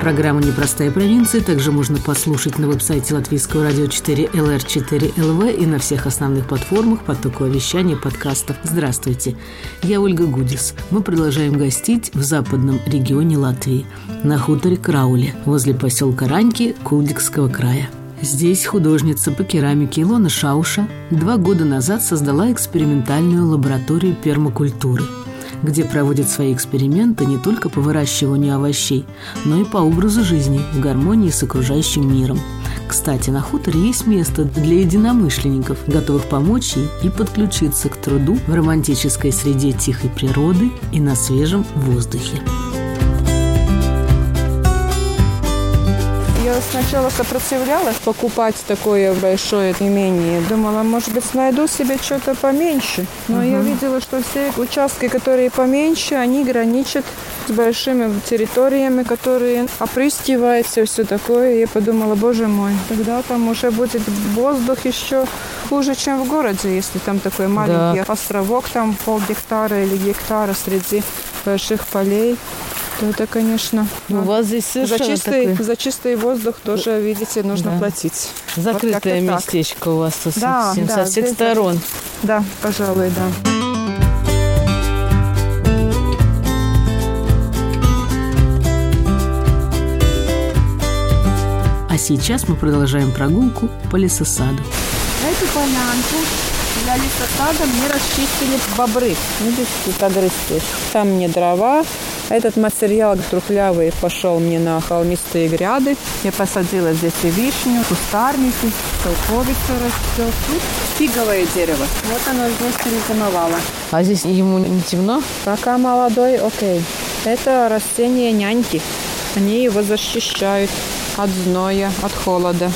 Программу «Непростая провинция» также можно послушать на веб-сайте латвийского радио 4 LR4LV и на всех основных платформах потокового вещания подкастов. Здравствуйте, я Ольга Гудис. Мы продолжаем гостить в западном регионе Латвии, на хуторе Крауле, возле поселка Раньки Кулдикского края. Здесь художница по керамике Илона Шауша два года назад создала экспериментальную лабораторию пермакультуры – где проводят свои эксперименты не только по выращиванию овощей, но и по образу жизни в гармонии с окружающим миром. Кстати, на хуторе есть место для единомышленников, готовых помочь ей и подключиться к труду в романтической среде тихой природы и на свежем воздухе. Я сначала сопротивлялась покупать такое большое имение. Думала, может быть, найду себе что-то поменьше. Но угу. я видела, что все участки, которые поменьше, они граничат с большими территориями, которые опрыскиваются, все такое. И я подумала, боже мой, тогда там уже будет воздух еще хуже, чем в городе, если там такой маленький да. островок, там пол гектара или гектара среди больших полей. То это, конечно. Ну, У вас здесь совершенно за чистый, такой... за чистый воздух тоже, видите, нужно Да. платить. Закрытое как-то так. местечко у вас со, Да, всем- да, со всех здесь- сторон. Да, пожалуй, да. А сейчас мы продолжаем прогулку по лесосаду. Эту полянку для лесосада мне расчистили бобры. Видишь, тут огрызки. Там мне дрова. Этот материал трухлявый пошел мне на холмистые гряды. Я посадила здесь и вишню, кустарники, толковица растет. Тут фиговое дерево. Вот оно здесь перезимовало. А здесь ему не темно? Пока молодой, окей. Это растение няньки. Они его защищают от зноя, от холода,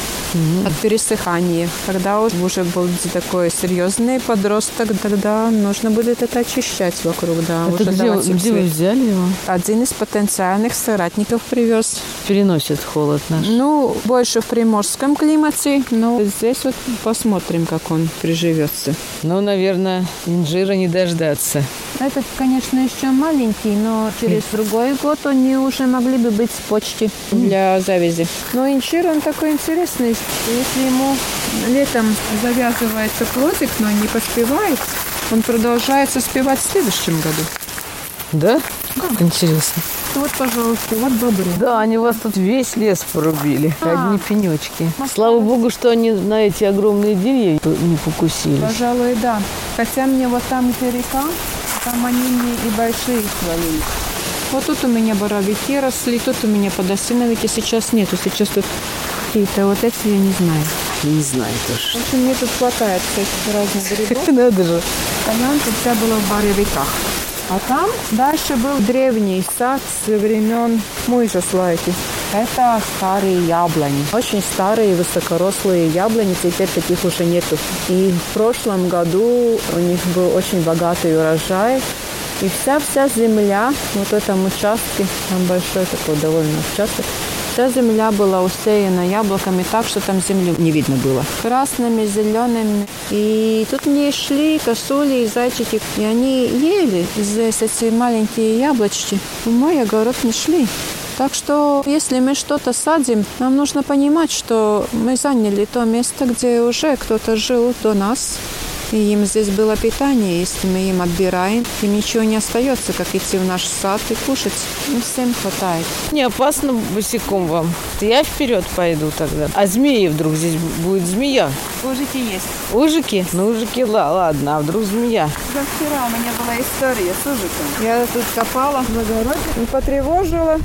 от пересыхания. Когда уж уже будет такой серьезный подросток, тогда нужно будет это очищать вокруг, да, Это уже где, давать им Ну, где вы свет. взяли его? Один из потенциальных соратников привез. Переносит холод наш. Ну, больше в приморском климате, но здесь вот посмотрим, как он приживется. Ну, наверное, инжира не дождаться. Этот, конечно, еще маленький, но через другой год они уже могли бы быть в почте для завязи. Но инжир, он такой интересный. Если ему летом завязывается плодик, но не поспевает, он продолжает соспевать в следующем году. Да? Как интересно. Вот, пожалуйста, вот бобры. Да, они у вас тут весь лес порубили. Одни пенечки. Слава богу, что они на эти огромные деревья не покусились. Пожалуй, да. Хотя мне вот там, где река, там они мне и большие свалились. Вот тут у меня боровики росли, тут у меня подосиновики сейчас нету. Сейчас тут какие-то вот эти, я не знаю. Не знаю тоже. В общем, мне тут хватает всяких разных грибов. А Надо же. Полянка вся была в боровиках. А там дальше был древний сад с времен Муйжаслайки. Это старые яблони. Очень старые высокорослые яблони, теперь таких уже нету. И в прошлом году у них был очень богатый урожай. И вся-вся земля, вот в этом участке, там большой такой довольно участок, Вся земля была усеяна яблоками так, что там земли не видно было. Красными, зелеными. И тут мне шли косули и зайчики. И они ели здесь эти маленькие яблочки. В мой огород не шли. Так что, если мы что-то садим, нам нужно понимать, что мы заняли то место, где уже кто-то жил до нас. И им здесь было питание, если мы им отбираем, им ничего не остается, как идти в наш сад и кушать. Им всем хватает. Не опасно босиком Ну, вам. Я вперед пойду тогда. А змеи вдруг здесь будет змея. Можете есть. Ужики? Ну, ужики, ла- ладно, а вдруг змея? Как вчера у меня была история с ужиком. Я тут копала в огороде и потревожила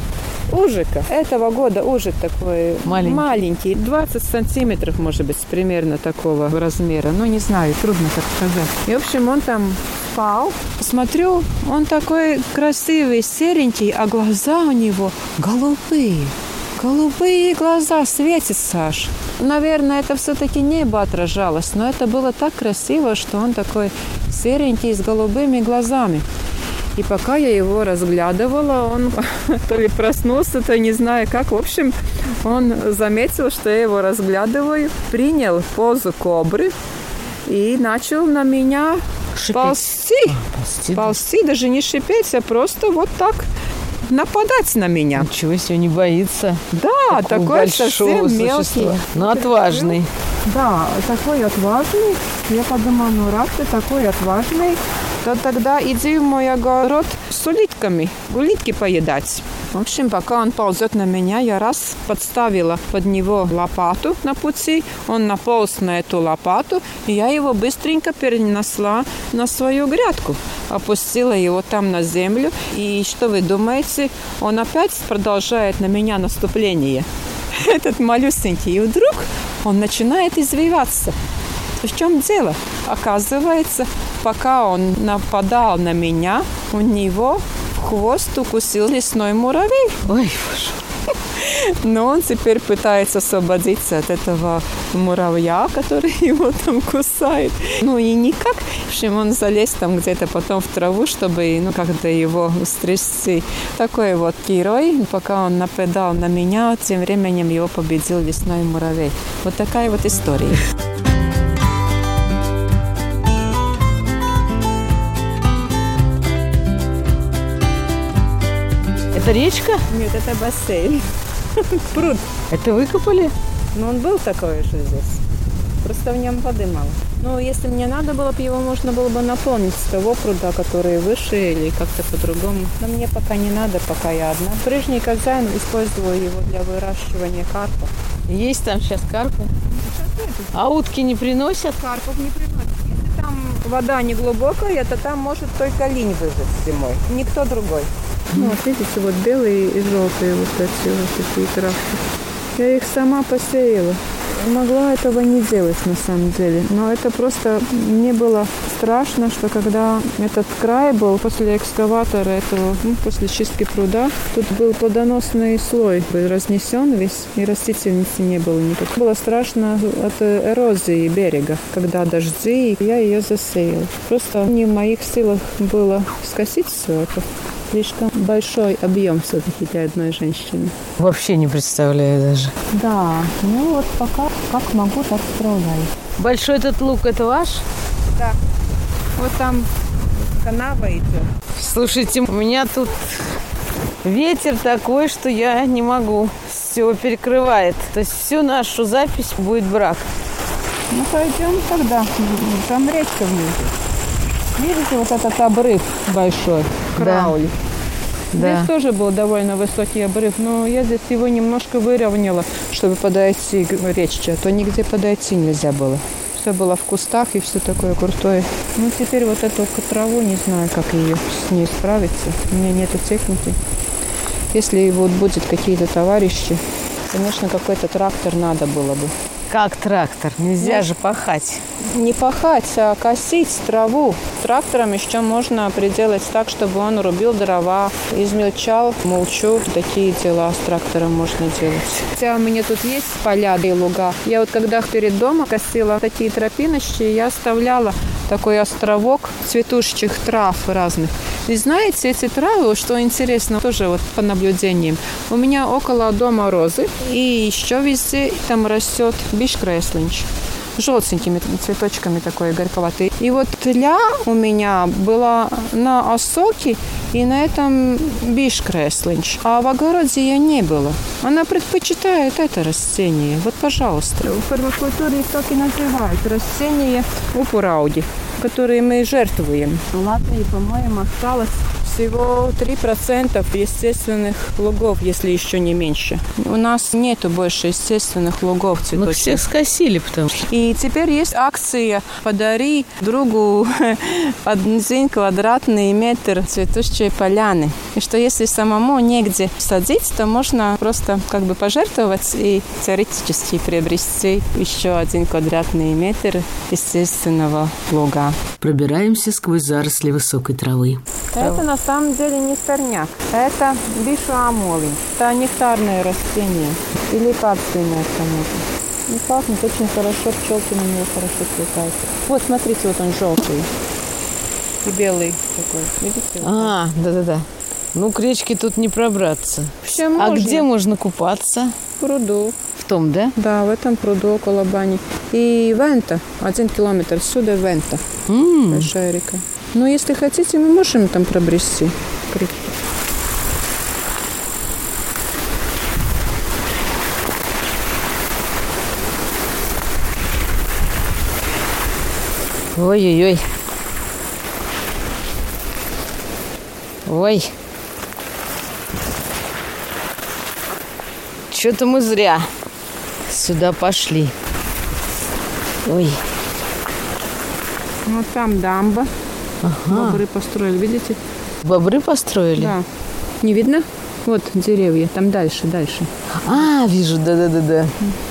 ужика. Этого года ужик такой Маленький. маленький, 20 сантиметров, может быть, примерно такого размера. Ну, не знаю, трудно так сказать. И, в общем, он там спал. Смотрю, он такой красивый, серенький, а глаза у него голубые. Голубые глаза светят, Саш. Наверное, это все-таки небо отражалось, но это было так красиво, что он такой серенький с голубыми глазами. И пока я его разглядывала, он то ли проснулся, то не знаю как. В общем, он заметил, что я его разглядываю, принял позу кобры и начал на меня Шипеть. А, ползти. Ползти, да. Ползти, даже не шипеть, а просто вот так нападать на меня. Ничего себе, не боится. Да, такого такой большого совсем мелкий. существа. Но отважный. Да, такой отважный. Я подумала, ну раз ты такой отважный, то тогда иди в мой огород с улитками, улитки поедать. В общем, пока он ползет на меня, я раз подставила под него лопату на пути, он наполз на эту лопату, и я его быстренько перенесла на свою грядку. Опустила его там на землю, и что вы думаете, он опять продолжает на меня наступление этот малюсенький. И вдруг он начинает извиваться. В чем дело? Оказывается, пока он нападал на меня, у него в хвост укусил лесной муравей. Ой, Но он теперь пытается освободиться от этого муравья, который его там кусает. Ну и никак. В общем, он залез там где-то потом в траву, чтобы, ну, как-то его стрясти. Такой вот герой. Пока он нападал на меня, тем временем его победил лесной муравей. Вот такая вот история. это речка? Нет, это бассейн. Пруд. Это выкопали? Но он был такой же здесь. Просто в нем воды мало. Ну, если мне надо было бы, его можно было бы наполнить с того пруда, который выше или как-то по-другому. Но мне пока не надо, пока я одна. Прежний казан использую его для выращивания карпа. Есть там сейчас карпы? А утки не приносят? Карпов не приносит. Если там вода не глубокая, то там может только линь выжить зимой. Никто другой. Ну, вот видите, вот белые и желтые вот эти вот такие травки. Я их сама посеяла. Могла этого не делать на самом деле. Но это просто мне было страшно, что когда этот край был после экскаватора этого, ну, после чистки пруда, тут был плодоносный слой, был разнесен весь, и растительности не было никакой. Было страшно от эрозии берега, когда дожди, и я ее засеяла. Просто не в моих силах было скосить все это. Слишком большой объем все-таки для одной женщины. Вообще не представляю даже. Да, ну вот пока как могу, так справляюсь. Большой этот лук, это ваш? Вот там канава идет. Слушайте, у меня тут ветер такой, что я не могу. Все перекрывает. То есть всю нашу запись будет брак. Ну пойдем тогда. Там речка внизу. Видите, вот этот обрыв большой. Да. Крауль. Да. Здесь тоже был довольно высокий обрыв, но я здесь его немножко выровняла, чтобы подойти к речке, а то нигде подойти нельзя было. Все было в кустах и все такое крутое. Ну, теперь вот эту к- траву, не знаю, как ее с ней справиться. У меня нету техники. Если вот будут какие-то товарищи, конечно, какой-то трактор надо было бы. Как трактор? Ну, Нельзя же пахать. Не пахать, а косить траву. Трактором еще можно приделать так, чтобы он рубил дрова, измельчал молчу. Такие дела с трактором можно делать. Хотя у меня тут есть поля и луга. Я вот когда перед домом косила такие тропиночки, я оставляла такой островок цветущих трав разных. И знаете, эти травы, вот что интересно, тоже вот по наблюдениям. У меня около дома розы, и еще везде там растет бишкреслинч желтенькими цветочками такой горьковатый. И вот тля у меня была на осоке и на этом бишкреслинч. А в огороде ее не было. Она предпочитает это растение. Вот, пожалуйста. В первокультуре так и называют растение упурауди, которые мы жертвуем. Ладно, и, по-моему, осталось всего 3% естественных лугов, если еще не меньше. У нас нету больше естественных лугов Ну, цветочных. всех скосили, потому что... И теперь есть акция «Подари другу один квадратный метр цветущей поляны». И что если самому негде садить, то можно просто как бы пожертвовать и теоретически приобрести еще один квадратный метр естественного луга. Пробираемся сквозь заросли высокой травы. Это на самом деле не сорняк. Это бишуамолы. Это нектарное растение. Или капсульное, конечно. Не пахнет очень хорошо, пчелки на него хорошо цветают. Вот, смотрите, вот он желтый. И белый такой. Видите? А, да-да-да. Ну, к речке тут не пробраться. Все А где можно купаться? В пруду. В том, да? Да, в этом пруду около бани. И Вента, один километр отсюда Вента, М, большая река. Но если хотите, мы можем там пробрести. к реке. Ой-ой-ой. Ой. Что-то мы зря сюда пошли. Ой. Вот Ну, там дамба. Ага. Бобры построили, видите? Бобры построили? Да. Не видно? Вот деревья, там дальше, дальше. А, вижу, да-да-да-да.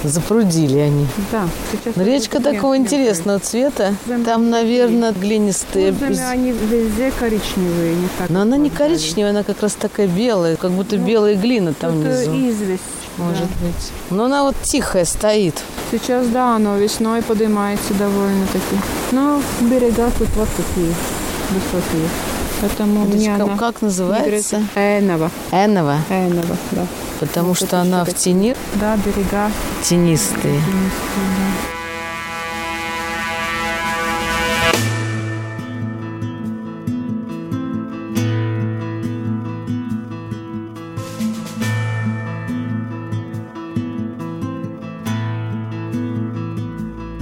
Запрудили они. Да, сейчас... Но речка такого интересного цвета. Зам- Там, наверное, глинистые. они везде коричневые, не так. Но она не коричневая, она как раз такая белая, как будто белая глина там внизу. известь. Может быть. Но она вот тихая стоит. Сейчас, да, но весной поднимается довольно-таки. Но берега тут вот такие высокие. Поэтому То есть мне Как, она... как называется? Энова. Энова. Энова, да. Потому Вот что это она в что-то. тени Да, берега. тенистые.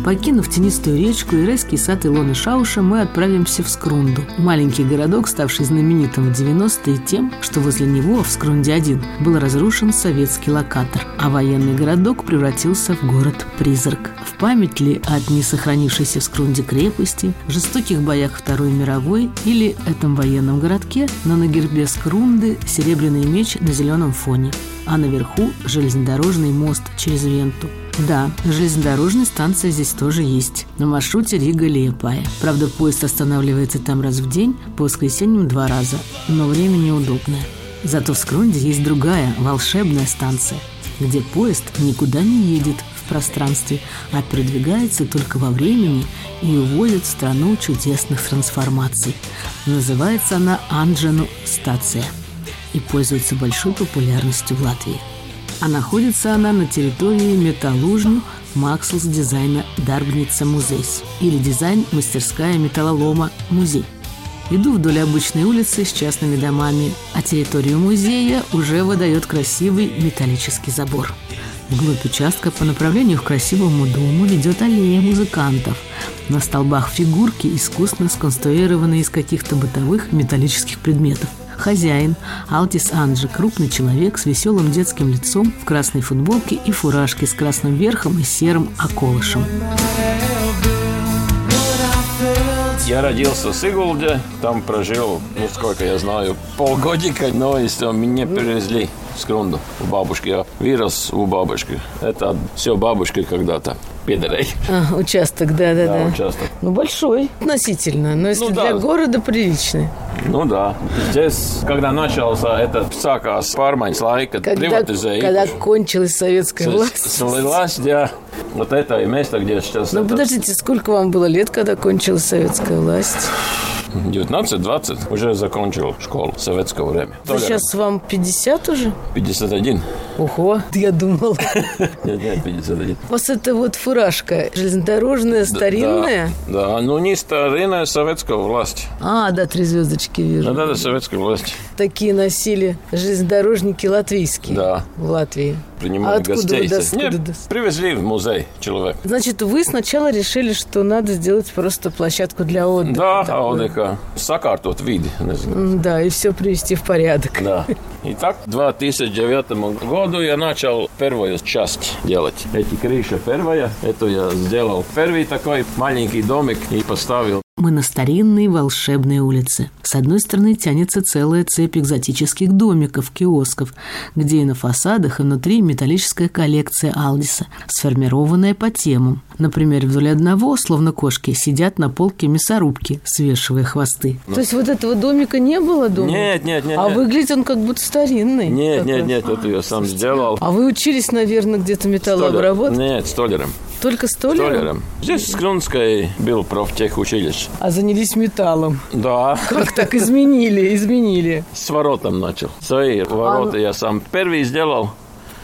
Покинув тенистую речку и райский сад Илона Шауша, мы отправимся в Скрунду. Маленький городок, ставший знаменитым в 90-е тем, что возле него, в Скрунде-1, был разрушен советский локатор, а военный городок превратился в город-призрак. В память ли от несохранившейся в Скрунде крепости, жестоких боях Второй мировой или этом военном городке, но на гербе Скрунды серебряный меч на зеленом фоне, а наверху железнодорожный мост через Венту. Да, железнодорожная станция здесь тоже есть, на маршруте Рига-Лиепая. Правда, поезд останавливается там раз в день, по воскресеньям два раза, но время неудобное. Зато в Скрунде есть другая, волшебная станция, где поезд никуда не едет в пространстве, а передвигается только во времени и уводит в страну чудесных трансформаций. Называется она Анджану стация и пользуется большой популярностью в Латвии. А находится она на территории металлужни Макслс дизайна Дарбница Музейс или дизайн-мастерская металлолома Музей. Иду вдоль обычной улицы с частными домами, а территорию музея уже выдает красивый металлический забор. Вглубь участка по направлению к красивому дому ведет аллея музыкантов. На столбах фигурки, искусно сконструированы из каких-то бытовых металлических предметов. Хозяин Алтис Анджи – крупный человек с веселым детским лицом, в красной футболке и фуражке с красным верхом и серым околышем. Я родился в Сигулде, там прожил, ну сколько я знаю, полгодика, но и всё, меня перевезли в Скрунду у бабушки. Я вырос у бабушки. Это все бабушки когда-то. Пидорей. А, участок, Да, да-да-да. участок. ну, большой относительно, но если Ну, для да. города приличный. Ну да. Здесь, когда начался этот сакас пармань лайка, Когда, когда кончилась советская власть. Слилась, да. Вот это и место, где сейчас Ну, это, подождите, сколько вам было лет, когда кончилась советская власть? 19-20 уже закончил школу советского времени. Ну, Сейчас вам 50 уже? 51. Ого, я думала. Нет, нет, 51. У вас это вот фуражка железнодорожная, старинная? Да, да, ну не старинная советская власть. А, да, три звездочки Ну вижу. да, да, советская власть. Такие носили железнодорожники латвийские Да. в Латвии. Принимали А откуда гостей. вы, да, откуда, Нет, да? привезли в музей человек. Значит, вы сначала решили, что надо сделать просто площадку для отдыха. Да, а такую. отдыха. Сакартот вид. называется. М, Да, и все привести в порядок. Да. И так, в 2009 году я начал первую часть делать. Эти крыши первая. Это я сделал первый такой маленький домик и поставил Мы на старинной волшебной улице. С одной стороны тянется целая цепь экзотических домиков, киосков, где и на фасадах, и внутри металлическая коллекция Алдиса, сформированная по темам. Например, вдоль одного, словно кошки, сидят на полке мясорубки, свешивая хвосты. То есть вот этого домика не было дома? Нет, нет, нет, А нет. выглядит он как будто старинный. Нет, такой. нет, нет, это я сам сделал. А вы учились, наверное, где-то Столер. металлообработать? Нет, столером. Только столером? Столером. Здесь в Крунской был профтехучилище. А занялись металлом. Да, Как так изменили, изменили. с воротом начал. Свои А ну. ворота я сам первый сделал.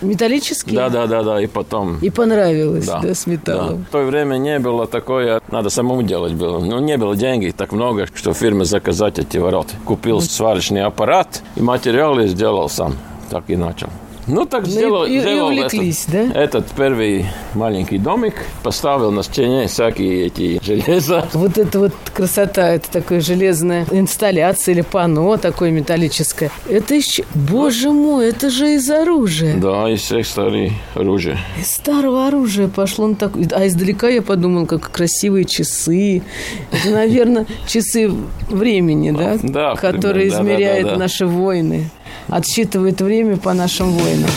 Металлические? Да, да, да, да, и потом... И понравилось, да, с да. металлом. В то время не было такое, надо самому делать было. Ну, не было денег так много, что фирме заказать эти ворота. Купил сварочный аппарат и материалы сделал сам. Так и начал. Ну, так и- сделал, и- и сделал этот- увлеклись, да? этот первый маленький домик. Поставил на стене всякие эти железа. Вот это вот красота, это такая железная инсталляция или панно такое металлическое. Это еще... Боже мой, это же из оружия. Да, и всех старые оружия. Из старого оружия пошло на так... А издалека я подумал, как красивые часы. Это, наверное, часы времени, да? Да, Которые примерно, да, да, измеряют да, да. наши войны. Отсчитывает время по нашим войнам.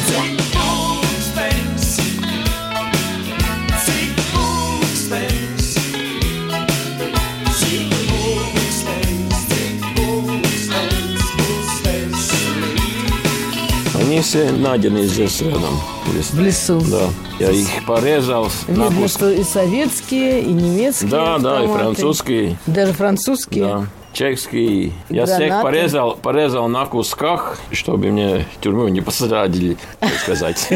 Они все найдены здесь рядом. В лесу. Да. Я их порезал на Видно, куски. что и советские, и немецкие Да, да, и автоматы. французский. Даже французские. Да. Чешский. Я Гранаты. всех порезал, порезал на кусках, чтобы мне в тюрьму не посадили, так сказать.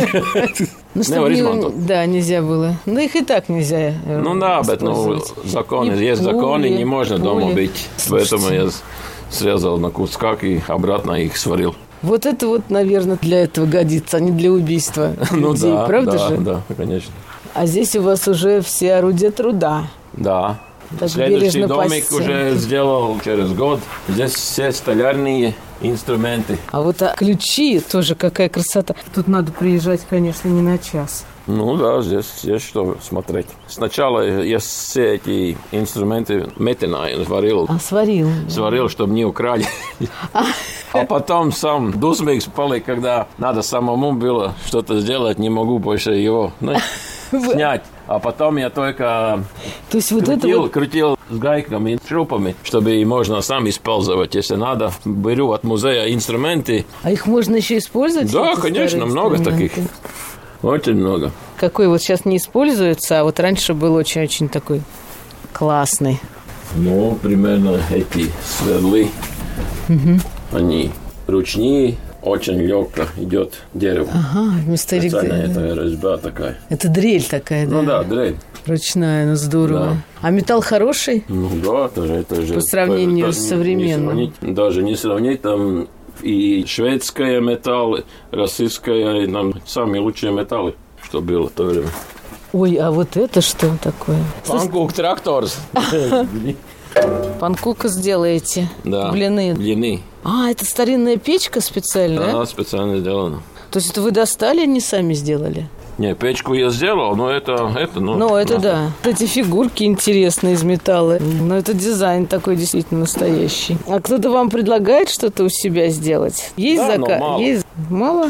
Ну, чтоб Не, не- Оризмонтов. да, нельзя было. Ну, их и так нельзя. э, Ну да, об этом использовать. законы. И Есть пули, законы, не можно дома пули. быть. Слушайте, Поэтому я с- срезал на кусках и обратно их сварил. Вот это вот, наверное, для этого годится, а не для убийства Ну людей, да, правда да, же? да, конечно. А здесь у вас уже все орудия труда. Да. Так Следующий бережно по домик стенке. уже сделал через год. Здесь все столярные инструменты. А вот а, ключи тоже какая красота. Тут надо приезжать, конечно, не на час. Ну да, здесь есть что смотреть. Сначала я все эти инструменты метина сварил. А сварил. Сварил, чтобы не украли. А потом сам дусмик спал, когда надо самому было что-то сделать, не могу больше его ну, снять. А потом я только То есть вот это крутил, вот... крутил с гайками и шурупами, чтобы и можно сам использовать, если надо. Беру от музея инструменты. А их можно еще использовать? Да, эти конечно, старые много инструменты? таких. Очень много. Какой вот сейчас не используется, а вот раньше был очень-очень такой классный. Ну, примерно эти сверлы, они ручные, очень легко идет дерево. Ага, вместо рек- Специально это резьба такая. Это дрель такая, да? Ну да, дрель. Ручная, ну здорово. Да. А металл хороший? Ну да, это же... Это же По сравнению даже с не- не современным. сравнить, даже не сравнить там и шведская металл, и российская, и нам самые лучшие металлы, что было в то время. Ой, а вот это что такое? Панкук тракторс. Панкука сделаете. Да. Блины. Длины. А, это старинная печка специальная? Она специально сделана. То есть это вы достали, не сами сделали? Не, печку я сделал, но это, это, ну... Ну, это ну, да. Вот Эти фигурки интересные из металла. Но это дизайн такой действительно настоящий. А кто-то вам предлагает что-то у себя сделать? Есть Да, но заказ? мало. Есть? Мало?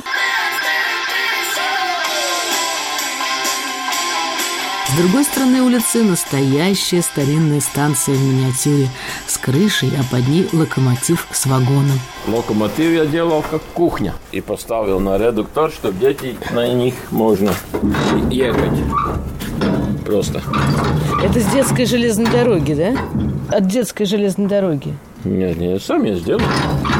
С другой стороны улицы настоящая старинная станция в миниатюре с крышей, а под ней локомотив с вагоном. Локомотив я делал как кухня и поставил на редуктор, чтобы дети на них можно ехать. Просто. Это с детской железной дороги, да? От детской железной дороги. Нет, не сам я сделал.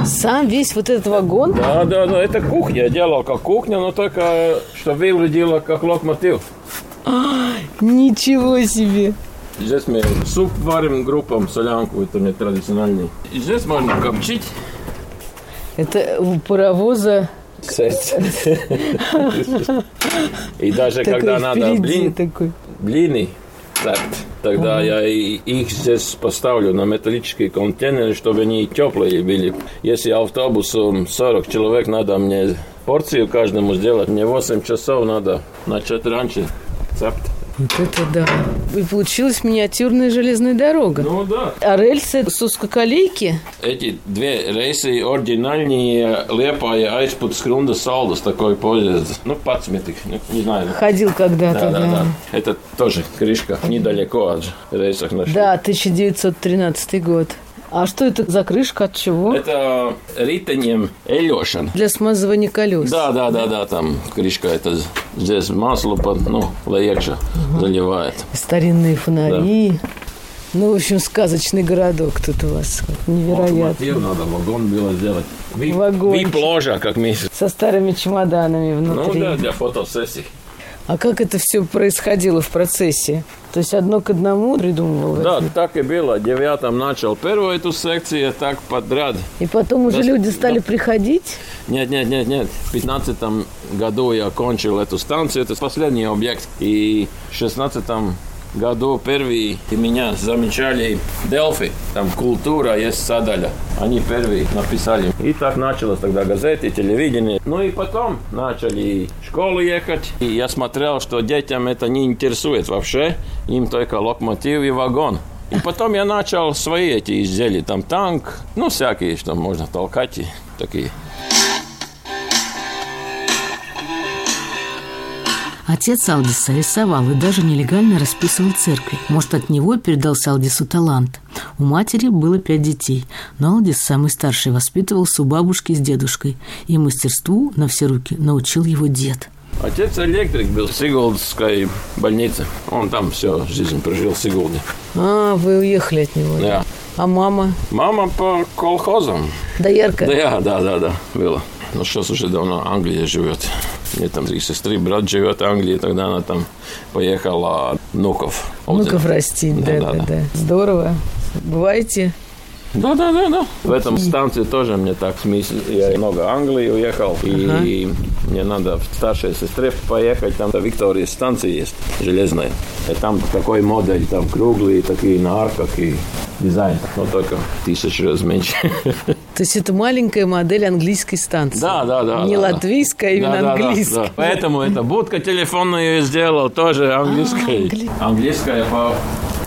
Сам весь вот этот вагон? Да, да, но это кухня. Я делал как кухня, но только что выглядело как локомотив. Ничего себе! Здесь мы суп варим группам, солянку, это не традициональный. И здесь можно копчить. Это у паровоза И даже такой когда надо впереди блин, такой. блины так, тогда я и- их здесь поставлю на металлические контейнеры, чтобы они теплые были. Если автобусом 40 человек, надо мне порцию каждому сделать. Мне 8 часов надо начать раньше. Рецепт. Вот это да. И получилась миниатюрная железная дорога. Ну да. А рельсы с узкоколейки? Эти две рейсы оригинальные лепая айспут скрунда салдус такой поезд. Ну, пацметик, ну, не знаю. Ходил Да, когда-то, да, да, Это тоже крышка недалеко от рейсов нашли. Да, 1913 год. А что это за крышка, от Э, чего? Это ританем Элешин. Для смазывания колес. Да, да, да, да, там крышка это здесь масло, под, ну, легче заливает. Старинные фонари. Ну, в общем, сказочный городок тут у вас. Невероятно. надо вагон было сделать. Ви, Вагончик. вип-ложа, как месяц. Со старыми чемоданами Ну внутри. да, для фотосессий. А как это все происходило в процессе? То есть одно к одному придумывалось? Да, так и было. Девятом начал первую эту секцию, так подряд. И потом уже Да, люди да. стали приходить? Нет, нет, нет, нет. В 15 году я кончил эту станцию, это последний объект. И в 16 году первые и меня замечали Делфи, там культура есть садаля. Они первые написали. И так началось тогда газеты, телевидение. Ну и потом начали в школу ехать. И я смотрел, что детям это не интересует вообще. Им только локомотив и вагон. И потом я начал свои эти изделия, там танк, ну всякие, что можно толкать, и такие Отец Алдиса рисовал и даже нелегально расписывал церкви. Может, от него передался Алдису талант. У матери было пять детей, но Алдис, самый старший, воспитывался у бабушки с дедушкой. И мастерству на все руки научил его дед. Отец электрик был в Сигулдской больнице. Он там все жизнь прожил в Сигулде. А, вы уехали от него. Да. А мама? Мама по колхозам. Доярка? Да, да, да, да, было. Но сейчас уже давно Англия живет. Мне там три сестры, брат живет в Англии, тогда она там поехала внуков. Ну-ка, прости. Да, да, да, Да-да-да. Здорово. Бываете? Да, да, да, да. В этом станции тоже мне так смысл. Я много Англии уехал, и мне надо в старшей сестре поехать. Там до Виктории станция есть, железная. И там такой модель, там круглые такие на арках и дизайн. Но только тысячу раз меньше. То есть это маленькая модель английской станции. Да, да, да. Не да, да. латвийская, а именно Да, да, да, английская. да. Поэтому эта будка телефонную я сделал тоже английская. Английская по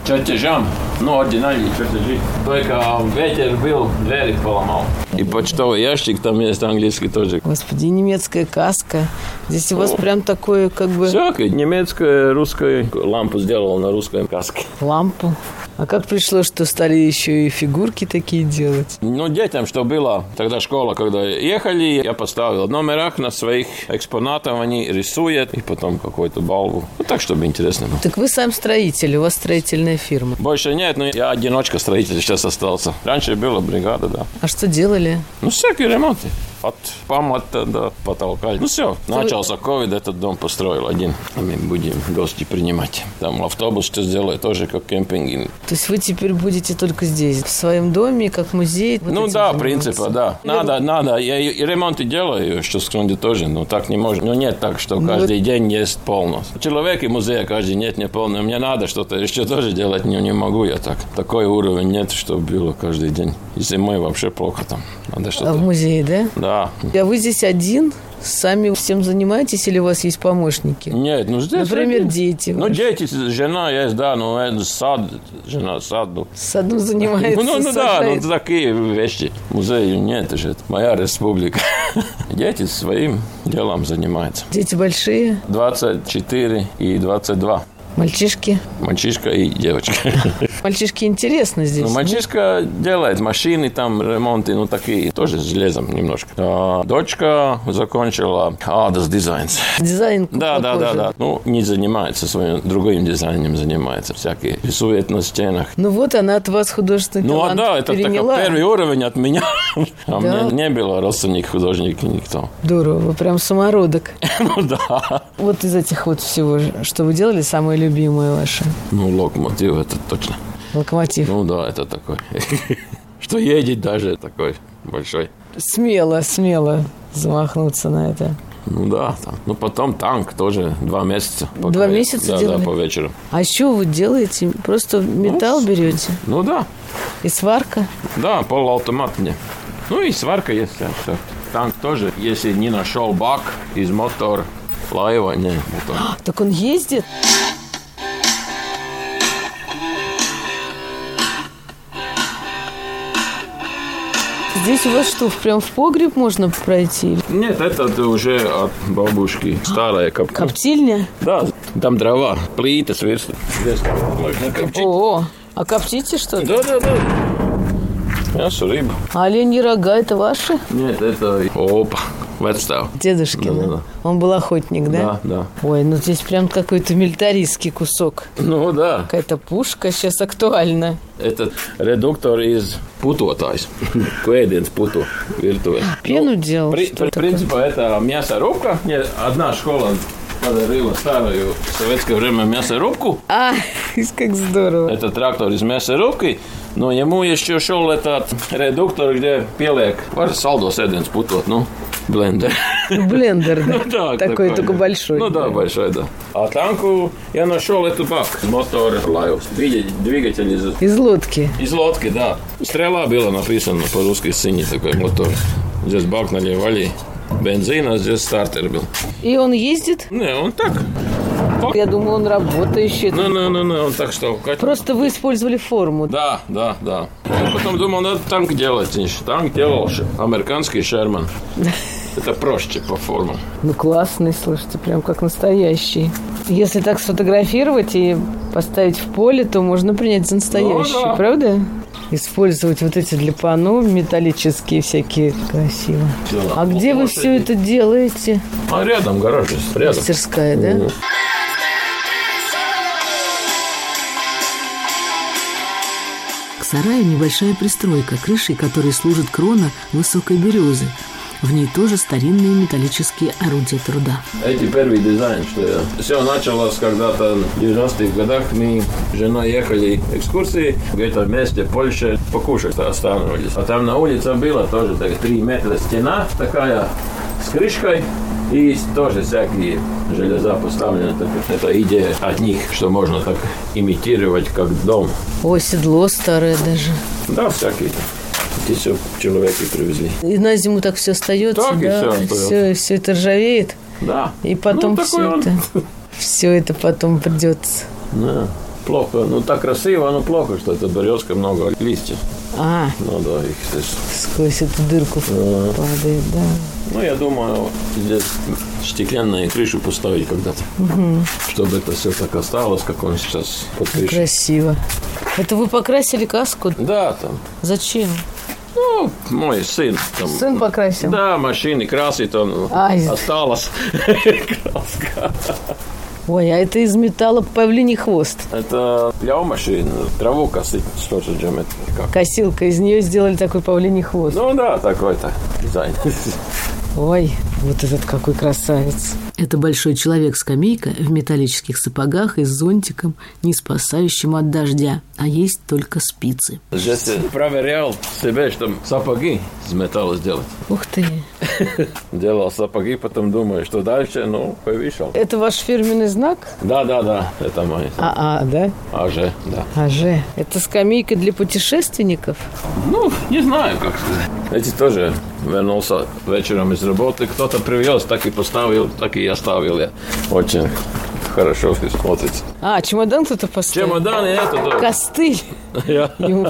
чертежам. Ну, оригинальные чертежи. Только ветер был, двери поломал. И почтовый ящик там есть английский тоже. Господи, и немецкая каска. Здесь у вас прям такое, как бы, Всякое. Немецкое, русское. Лампу сделал на русской каске. лампу. А как пришло, что стали еще и фигурки такие делать? Ну, детям, что было тогда школа, когда ехали, я поставил в номерах на своих экспонатов, они рисуют, и потом какую-то балву. Ну, так, чтобы интересно было. Так вы сам строитель, у вас строительная фирма. Больше нет, но я одиночка строитель сейчас остался. Раньше была бригада, да. А что делали? Ну, всякие ремонты. От памата до потолка. Ну, все. Начался ковид, этот дом построил один. А Мы будем гости принимать. Там автобус что сделает, тоже как кемпинги. То есть вы теперь будете только здесь, в своем доме, как музей? вот ну этим да, заниматься? принципа, да. Надо, надо. Я и и ремонты делаю, что в Скрунде тоже, но так не можно. Ну нет так, что каждый день есть полностью. Человек и музей а каждый нет не полный. Мне надо что-то еще тоже делать, не, не могу я так. Такой уровень нет, что было каждый день. И зимой вообще плохо там. Надо А в что-то. музее, да? Да. А вы здесь один? Сами всем занимаетесь или у вас есть помощники? Нет, ну здесь... Например, один. дети. Ну, дети, жена есть, да, но это сад, жена сад был. С одним занимается, Ну, ну, ну да, сажает. ну такие вещи. Музей ну, нет, же, это моя республика. Дети своим делом занимаются. Дети большие, 24 и 22. мальчишки. Мальчишка и девочка. Мальчишки интересно здесь. Ну, мальчишка делает машины, там ремонты, ну, такие, тоже с железом немножко. А дочка закончила Adas Designs. Дизайн Да, да, какой да, же. да. Ну, не занимается своим, другим дизайном занимается. Всякие рисует на стенах. Ну вот она от вас художественный Ну, а талант да, это такой переняла. первый уровень от меня. А у Да. меня не было родственников художников никто. Здорово, вы прям самородок. Ну, да. Вот из этих вот всего, что вы делали, самое любимое ваше? Ну, локомотив это точно. Локомотив. Ну, да, это такой. Что едет даже такой большой. Смело, смело замахнуться на это. Ну да, там. Ну потом танк тоже два месяца. пока Два я- месяца да, делали? Да, по вечеру. А что вы делаете? Просто металл берете Ну да, и сварка? да, полуавтомат мне. Ну и сварка есть. да, всё. Танк тоже, если не А, нашел бак из мотор, лайва, не, мотор. Так он ездит? Здесь у вас что, прям в погреб можно пройти? Нет, это уже от бабушки. Старая капка. Коптильня? Да, там дрова, плиты, сверстки. О, а коптите что-то? Да, да, да. Мясо, рыба. А оленьи рога это ваши? Нет, это... Опа, отстал. Дедушкина. Да-да-да. Он был охотник, да? Да, да. Ой, ну здесь прям какой-то милитаристский кусок. Ну да, Какая-то пушка сейчас актуальна. этот редуктор из путотājs. Kvēdienas puto virtuvē. Пену делал, При, что при, такое? принципā, это мясорубка. Я одна школа подарила старую в советское время мясорубку. А, как здорово. Это трактор из мясорубки. Но ему еще шел этот редуктор, где пелек. Var saldos ēdienas putot, ну, блендер. Блендер, да? Ну Да, такой, только большой. Ну да, большой, да. А танку я нашел эту бак. Мотор Лайус. Двигатель двигатель из Из лодки. Из лодки, да. Стрела была написана по-русски синий такой мотор. Здесь бак наливали бензин, а здесь стартер был. И он ездит? Не, он так. Я думаю, он работающий. Ну, ну, ну, ну, он так что. как- Просто вы использовали форму. Да, да, да. Я потом думал, надо танк делать. Значит, Танк делал ш- американский Шерман. Это проще по формам. Ну, классный, слушайте, прям как настоящий. Если так сфотографировать и поставить в поле, то можно принять за настоящий, Ну да. правда? Использовать вот эти для пано металлические всякие. Красиво. Да. А где вы все это делаете? А рядом гараж, здесь, рядом. Мастерская, да? К сараю небольшая пристройка, крышей которой служит крона высокой березы. В ней тоже старинные металлические орудия труда. Эти первый дизайн, что я... Все началось когда-то в 90-х годах. Мы с женой ехали экскурсии где-то вместе Польше покушать останавливались. А там на улице было тоже так, 3 метра стена такая с крышкой. И тоже всякие железа поставлены. Так Это идея от них, что можно так имитировать как дом. О, седло старое даже. Да, всякие. Эти все человеки привезли. И на зиму так все остается, Так и да? всё, да. все, все это ржавеет. Да. И потом Ну, такой все он. это. Все это потом придется. Да. Плохо. Ну, так красиво, но плохо, что это березка, много листьев. А, Ну да, их здесь. сквозь эту дырку падает, да. Ну, я думаю, здесь стеклянную крышу поставить когда-то. Чтобы это все так осталось, как он сейчас под крышей. Красиво. Это вы покрасили каску? Да, там. Зачем? Ну, мой сын. Там, Сын покрасил. Да, машины красит, он Ай. осталось. Краска. Ой, а это из металла павлиний хвост. Это для машин, траву косить, что же джем это как. Косилка, из нее сделали такой павлиний хвост. Ну да, такой-то дизайн. Ой, вот этот какой красавец. Это большой человек-скамейка в металлических сапогах и с зонтиком, не спасающим от дождя, а есть только спицы. Здесь я проверял себе, что сапоги из металла сделать. Ух ты. Делал сапоги, потом думаю, что дальше, ну, повешал. Это ваш фирменный знак? Да, да, да, это мой. А, а, да? Аже, да. Аже. Это скамейка для путешественников? Ну, не знаю, как сказать. Эти тоже вернулся вечером из работы. Кто-то привез, так и поставил, так и оставил я. Очень хорошо всё смотрится. А, чемодан кто-то поставил? Чемодан и это тоже. Костыль. Я- Ему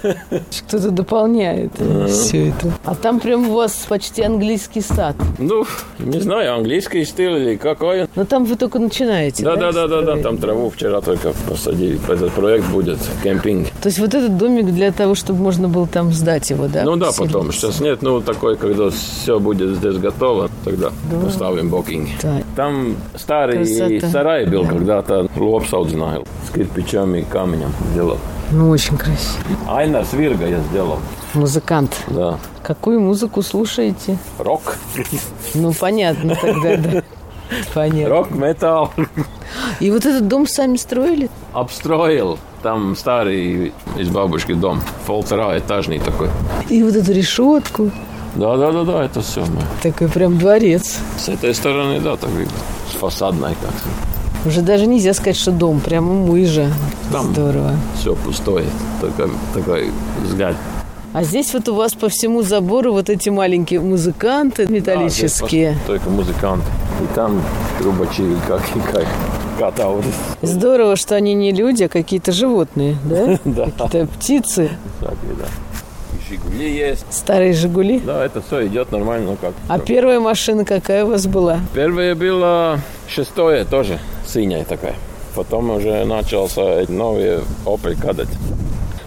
потреб- Кто-то дополняет все это. А там прям у вас почти английский сад. Ну, не знаю, английский стиль или какой. Но там вы только начинаете. Да, да, да, да, да. историю? Там траву вчера только посадили. Этот проект будет кемпинг. То есть вот этот домик для того, чтобы можно было там сдать его, да? Ну да, поселить? потом. Сейчас нет, ну такой, когда все будет здесь готово, тогда поставим бокинг. Да. Там старый Красота. сарай был когда-то, лобсал знаю, с кирпичом и камнем делал. Ну, очень красиво. Айна Свирга я сделал, Музыкант. да. Какую музыку слушаете? Рок, Ну, понятно тогда, да. Понятно. рок, металл. И вот этот дом сами строили? Обстроил там старый из бабушки дом, полтора этажный такой. И вот эту решетку. Да-да-да-да, это все. Такой прям дворец. С этой стороны, да, так видно. С фасадной как Уже даже нельзя сказать, что дом. Прямо мыжа. Там. Здорово. Все пустое, только такой взгляд А здесь вот у вас по всему забору вот эти маленькие музыканты металлические. Да, здесь Только музыканты. И там трубачи, как и как. Катауры. Здорово, что они не люди, а какие-то животные, да? Да. Какие-то птицы. Так, и да. И «Жигули» Жигули есть. Старые «Жигули». Да, это все идет нормально, ну как. А первая машина какая у вас была? Первое было шестое тоже, синяя такая. Потом уже начался новый Opel кадет.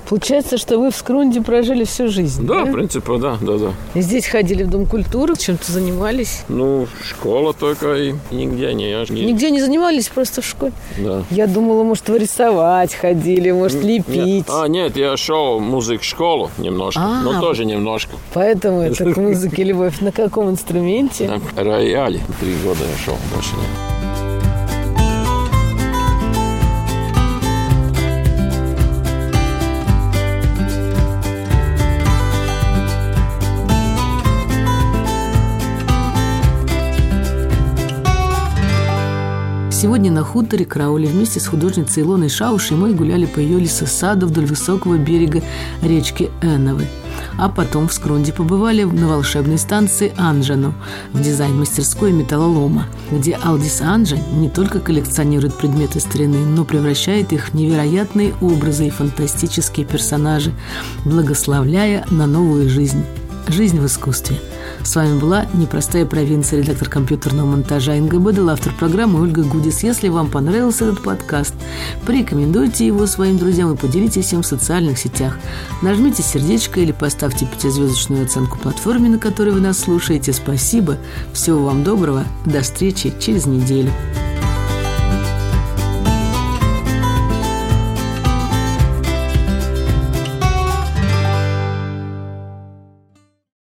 Получается, что вы в Скрунде прожили всю жизнь. Да, в принципе, да, да, да. И Здесь ходили в Дом культуры, чем-то занимались. Ну, школа только и нигде не. я ж не- Нигде не занимались, просто в школе. Да. Я думала, может, вы рисовать ходили, может, лепить. Нет. А, нет, я шел в музык-школу немножко, А. но тоже немножко. Поэтому это к музыке любовь. На каком инструменте? На рояле три года я шел, больше нет. Сегодня на хуторе Краули вместе с художницей Илоной Шаушей мы гуляли по ее лесосаду вдоль высокого берега речки Эновы. А потом в Скрунде побывали на волшебной станции Анжану в дизайн-мастерской металлолома, где Алдис Анжа не только коллекционирует предметы старины, но превращает их в невероятные образы и фантастические персонажи, благословляя на новую жизнь. Жизнь в искусстве. С вами была «Непростая провинция», редактор компьютерного монтажа НГБДЛ, автор программы Ольга Гудис. Если вам понравился этот подкаст, порекомендуйте его своим друзьям и поделитесь им в социальных сетях. Нажмите сердечко или поставьте пятизвездочную оценку платформе, на которой вы нас слушаете. Спасибо. Всего вам доброго. До встречи через неделю.